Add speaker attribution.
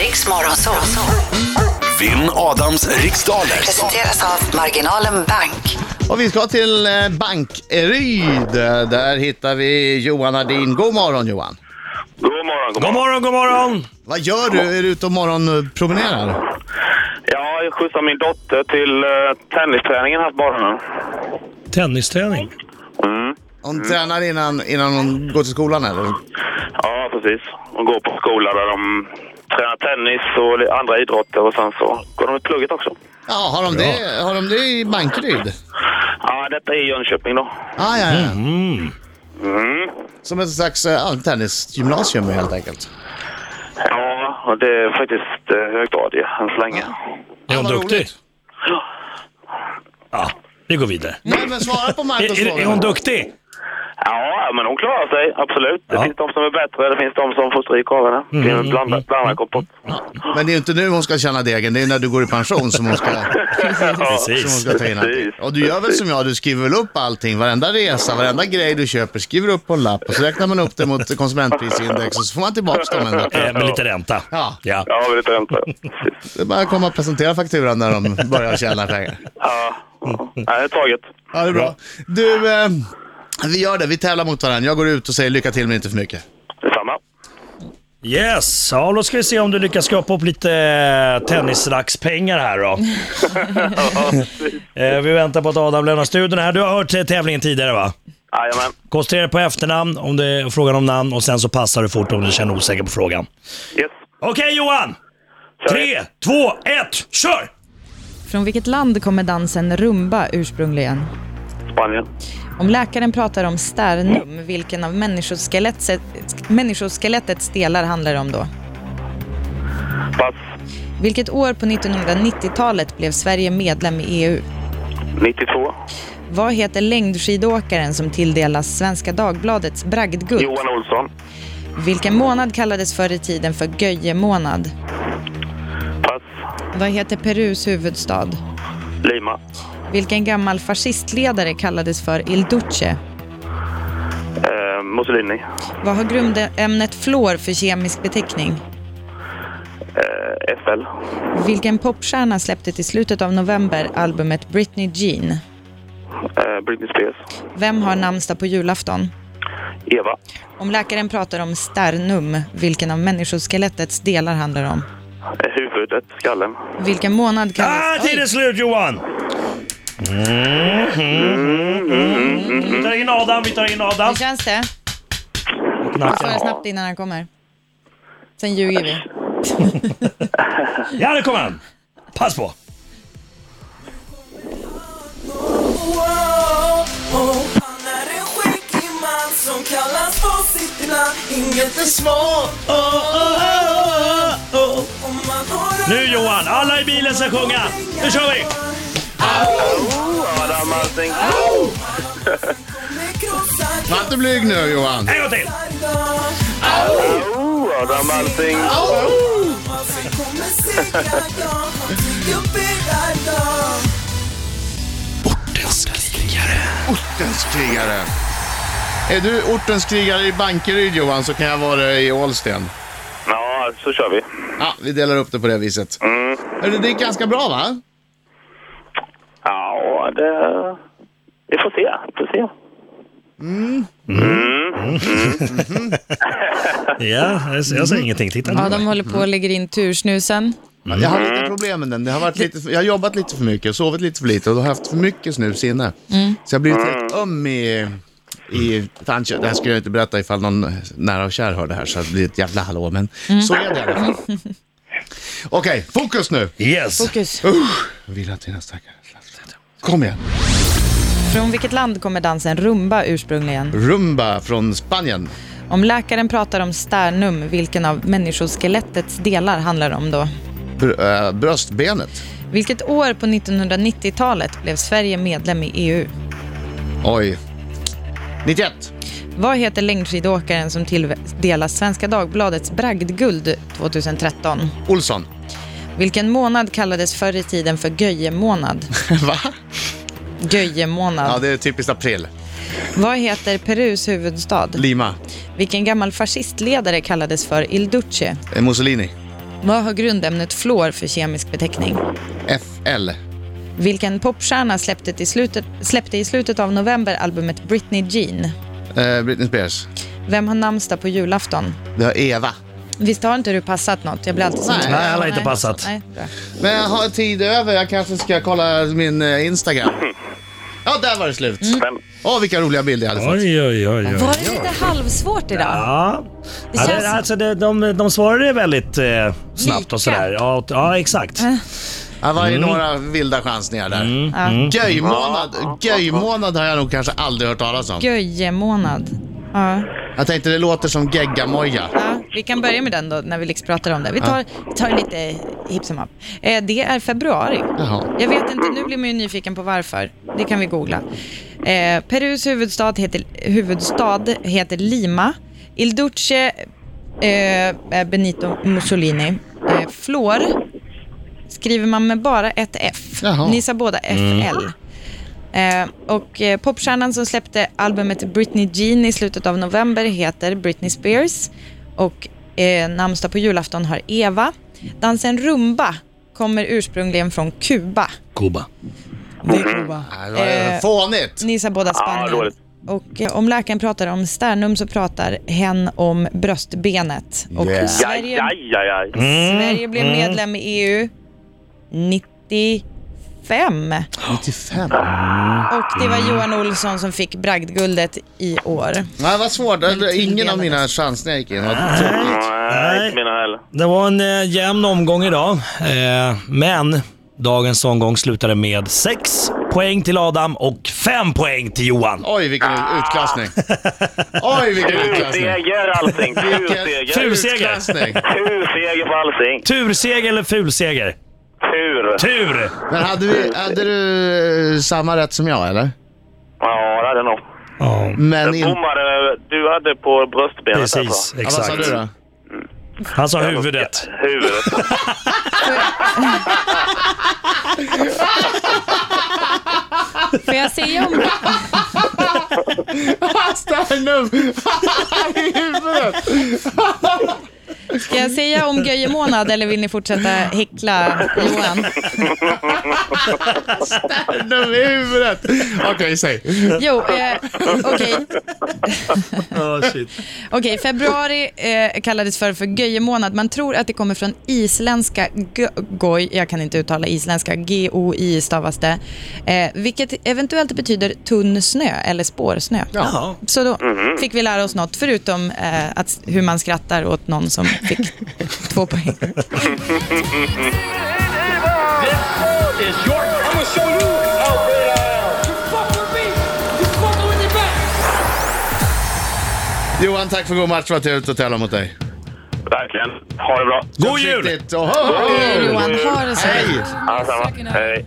Speaker 1: Riks Morgonzoo.
Speaker 2: Vinn Adams riksdaler.
Speaker 1: Presenteras av Marginalen Bank.
Speaker 3: Och vi ska till eh, Bankeryd. Där hittar vi Johan Hardin. God morgon Johan!
Speaker 4: God morgon, god
Speaker 5: God
Speaker 4: morgon.
Speaker 5: morgon, god morgon!
Speaker 3: Vad gör du? Är du ute och morgonpromenerar?
Speaker 4: Ja, jag skjutsar min dotter till eh, tennisträningen här på morgonen.
Speaker 5: Tennisträning.
Speaker 4: Mm.
Speaker 3: Hon tränar innan, innan hon går till skolan eller?
Speaker 4: Ja, precis. Hon går på skola där de tränar tennis och li- andra idrotter och sen så går de i plugget också.
Speaker 3: Ja, har de, det, har de det i Bankeryd?
Speaker 4: Ja, detta är i Jönköping då.
Speaker 3: Ah, ja, ja.
Speaker 5: Mm.
Speaker 4: Mm.
Speaker 3: Som ett slags eh, ja, tennisgymnasium helt enkelt.
Speaker 4: Ja, och det är faktiskt eh, högstadie än så länge.
Speaker 5: Är hon
Speaker 3: vad
Speaker 5: duktig?
Speaker 3: roligt.
Speaker 5: Ja, vi går vidare.
Speaker 3: Nej, men svara på Marcos
Speaker 5: Är, är, är hon
Speaker 3: fråga.
Speaker 5: duktig?
Speaker 4: Ja, men hon klarar sig, absolut. Det
Speaker 5: Ja.
Speaker 4: finns de som är bättre, det finns de som får stryk av henne. Det är en blandad bland kompott.
Speaker 3: Men det är ju inte nu hon ska tjäna degen, det är när du går i pension som hon ska, som hon
Speaker 5: Precis.
Speaker 3: ska ta in allting.
Speaker 4: Precis.
Speaker 3: Och du gör väl som jag, du skriver väl upp allting, varenda resa, varenda grej du köper skriver du upp på en lapp och så räknar man upp det mot konsumentprisindex och så får man tillbaks dem ändå.
Speaker 5: Eh, med lite ränta.
Speaker 3: Ja.
Speaker 5: ja.
Speaker 4: Ja, vi lite hämta. Precis.
Speaker 3: Det är bara att komma och presentera fakturan när de börjar tjäna pengar.
Speaker 4: Ja, ja. Nej, det är taget.
Speaker 3: Ja, det är bra. Du, eh, vi gör det, vi tävlar mot varandra. Jag går ut och säger lycka till men inte för mycket.
Speaker 4: Detsamma.
Speaker 5: Yes, ja, då ska vi se om du lyckas skrapa upp lite eh, tennisrackspengar här då. eh, vi väntar på att Adam lämnar studion här. Du har hört eh, tävlingen tidigare va?
Speaker 4: Jajamän.
Speaker 5: Koncentrera dig på efternamn om det är frågan om namn och sen så passar du fort om du känner osäker på frågan.
Speaker 4: Yes.
Speaker 5: Okej Johan!
Speaker 4: Kör vi.
Speaker 5: 3, 2, 1, kör!
Speaker 6: Från vilket land kommer dansen rumba ursprungligen?
Speaker 4: Spanien.
Speaker 6: Om läkaren pratar om sternum, vilken av människoskelettet, människoskelettet delar handlar det om då?
Speaker 4: Pass.
Speaker 6: Vilket år på 1990-talet blev Sverige medlem i EU?
Speaker 4: 92.
Speaker 6: Vad heter längdskidåkaren som tilldelas Svenska Dagbladets bragdguld?
Speaker 4: Johan Olsson.
Speaker 6: Vilken månad kallades förr i tiden för Göjemånad?
Speaker 4: Pass.
Speaker 6: Vad heter Perus huvudstad?
Speaker 4: Lima.
Speaker 6: Vilken gammal fascistledare kallades för Il Duce?
Speaker 4: Eh, Mussolini.
Speaker 6: Vad har grundämnet fluor för kemisk beteckning?
Speaker 4: Eh, FL.
Speaker 6: Vilken popstjärna släppte till slutet av november albumet Britney Jean?
Speaker 4: Eh, Britney Spears.
Speaker 6: Vem har namnsdag på julafton?
Speaker 4: Eva.
Speaker 6: Om läkaren pratar om sternum, vilken av människoskelettets delar handlar det om?
Speaker 4: Eh, huvudet. Skallen.
Speaker 6: Vilken månad
Speaker 5: Ah,
Speaker 6: kallas...
Speaker 5: tiden är slut Johan! Vi tar in Adam, vi tar in Adam.
Speaker 6: Hur känns det? Får jag snabbt innan han kommer? Sen ljuger
Speaker 5: Mm.
Speaker 6: vi.
Speaker 5: Ja, nu kommer han. Pass på.
Speaker 7: Wow, Oh, han är en skicklig man som kallas på sitt namn Inget är svårt om man har
Speaker 5: Nu Johan, alla i bilen ska sjunga. Nu kör vi!
Speaker 4: Adam Alsing.
Speaker 3: Var inte blyg nu Johan.
Speaker 5: En gång till!
Speaker 4: Oh, Adam Alsing.
Speaker 2: Ortens krigare.
Speaker 3: Ortens krigare. Är du ortens krigare i Bankeryd Johan så kan jag vara det i Ålsten.
Speaker 4: Ja, så kör vi.
Speaker 3: Ja, vi delar upp det på det viset.
Speaker 4: Mm.
Speaker 3: Hörru, Det gick ganska bra va?
Speaker 4: Ja, det... Vi får se. Vi får se.
Speaker 5: Ja, jag säger ingenting. Titta nu.
Speaker 6: Adam håller på och lägger in tursnusen.
Speaker 3: Jag har lite problem med den. Det har varit lite, jag har jobbat lite för mycket, sovit lite för lite och då har jag haft för mycket snus inne. Så jag har blivit helt öm i, i tandkött. Det här skulle jag inte berätta ifall någon nära och kär hör det här så det blir ett jävla hallå, men så är det i alla fall. Okej, fokus nu!
Speaker 5: Yes.
Speaker 6: Fokus.
Speaker 3: Vila till nästa stackare. Kom igen!
Speaker 6: Från vilket land kommer dansen rumba ursprungligen?
Speaker 3: Rumba från Spanien.
Speaker 6: Om läkaren pratar om sternum, vilken av människoskelettets delar handlar det om då?
Speaker 3: Br- äh, bröstbenet.
Speaker 6: Vilket år på 1990-talet blev Sverige medlem i E EU?
Speaker 3: Oj. 91.
Speaker 6: Vad heter längdskidåkaren som tilldelas Svenska Dagbladets bragdguld 2013?
Speaker 3: Olsson.
Speaker 6: Vilken månad kallades förr i tiden för Göjemånad?
Speaker 3: Va? Ja,
Speaker 6: Göjemånad.
Speaker 3: det är typiskt april.
Speaker 6: Vad heter Perus huvudstad?
Speaker 3: Lima.
Speaker 6: Vilken gammal fascistledare kallades för Il Duce?
Speaker 3: Eh, Mussolini.
Speaker 6: Vad har grundämnet fluor för kemisk beteckning?
Speaker 3: FL.
Speaker 6: Vilken popstjärna släppte, till slutet, släppte i slutet av november albumet Britney Jean?
Speaker 3: Eh, Britney Spears.
Speaker 6: Vem har namnsdag på julafton?
Speaker 3: Det har Eva.
Speaker 6: Visst har inte du passat något? Jag blir alltid så
Speaker 3: Nej,
Speaker 5: Nej, jag har inte passat.
Speaker 6: Nej, bra.
Speaker 3: Men jag har tid över. Jag kanske ska kolla min eh, Instagram. Ja, där var det slut.
Speaker 4: Men
Speaker 3: Åh, vilka roliga bilder jag hade fått.
Speaker 5: Oj, oj, oj. oj.
Speaker 6: Var det lite halvsvårt idag?
Speaker 5: Ja.
Speaker 6: Det
Speaker 5: Ja,
Speaker 6: känns-
Speaker 5: det, alltså det, de, de svarade väldigt eh, snabbt
Speaker 6: Lika.
Speaker 5: och sådär. Ja, och- ja exakt.
Speaker 3: Det var ju några vilda chansningar där. Mm. Göjmånad. Göjmånad har jag nog kanske aldrig hört talas om.
Speaker 6: Göjemånad. Ja.
Speaker 3: Jag tänkte det låter som geggamoja.
Speaker 6: Ja, vi kan börja med den då när vi liksom pratar om det. Vi tar, vi tar lite hipp som happ. Eh, det är februari.
Speaker 3: Jaha.
Speaker 6: Jag vet inte, nu blir man ju nyfiken på varför. Det kan vi googla. Eh, Perus huvudstad heter, huvudstad heter Lima. Il Duce eh, Benito Mussolini. Eh, Flor skriver man med bara ett F.
Speaker 3: Jaha.
Speaker 6: Ni sa båda FL. Eh, och eh, popstjärnan som släppte albumet Britney Jean i slutet av november heter Britney Spears. Och eh, namnsdag på julafton har Eva. Dansen rumba kommer ursprungligen från Kuba.
Speaker 5: Kuba.
Speaker 3: Nej, Det Ah, var fånigt.
Speaker 6: Ni sa båda
Speaker 4: Ja,
Speaker 6: Spanien.
Speaker 4: dåligt.
Speaker 6: och eh, om läkaren pratar om sternum så pratar hen om bröstbenet. Och
Speaker 3: Yeah.
Speaker 4: aj,
Speaker 6: Sverige,
Speaker 4: aj, aj, aj.
Speaker 6: Sverige blev medlem i E EU 95.
Speaker 3: 95.
Speaker 6: Och det var Johan Olsson som fick bragdguldet i år.
Speaker 3: Nej, vad svårt. Ingen av
Speaker 6: tilldelades.
Speaker 3: mina chansningar gick in. Vad tråkigt.
Speaker 4: Nej, inte mina heller.
Speaker 5: Det var en eh, jämn omgång idag, eh, men dagens omgång slutade med 6 poäng till Adam och 5 poäng till Johan.
Speaker 3: Oj, vilken utklassning. Oj, vilken utklassning.
Speaker 4: Turseger allting.
Speaker 3: Vilken
Speaker 4: Turseger.
Speaker 5: Turseger.
Speaker 3: utklassning.
Speaker 4: Turseger på allting.
Speaker 5: Turseger eller fulseger?
Speaker 4: Tur.
Speaker 5: Tur!
Speaker 3: Men hade, vi, hade du eh, samma rätt som jag, eller?
Speaker 4: Ja, det är det nog.
Speaker 5: Ja,
Speaker 3: Men
Speaker 4: Den
Speaker 3: in...
Speaker 4: bommade du hade på bröstbenet.
Speaker 5: precis.
Speaker 3: Ja,
Speaker 4: alltså.
Speaker 3: vad
Speaker 5: Exakt.
Speaker 3: sa du då?
Speaker 5: Han sa huvudet.
Speaker 4: Huvudet.
Speaker 6: Får jag säga om...
Speaker 3: Sternum! I huvudet!
Speaker 6: Ska jag säga om göjemånad eller vill ni fortsätta häckla Johan?
Speaker 3: Sternum i huvudet! Okej, säg.
Speaker 6: Jo, eh, okej.
Speaker 5: Oh, shit.
Speaker 6: Okej, februari eh, kallades för, för göjemånad. Man tror att det kommer från isländska gö- goj, jag kan inte uttala isländska, G-O-I stavas det, eh, vilket eventuellt betyder tunn snö eller spårsnö.
Speaker 5: Ja.
Speaker 6: Så då fick vi lära oss något, förutom eh, att, hur man skrattar åt någon som fick två poäng.
Speaker 3: Johan, tack för god match. Vad trevligt att tävla mot dig.
Speaker 4: Verkligen. Ha det bra.
Speaker 5: God jul!
Speaker 3: Försiktigt. Och-
Speaker 6: Johan, ha det så
Speaker 3: Hej!
Speaker 6: bra.
Speaker 4: Allsamma. Hej.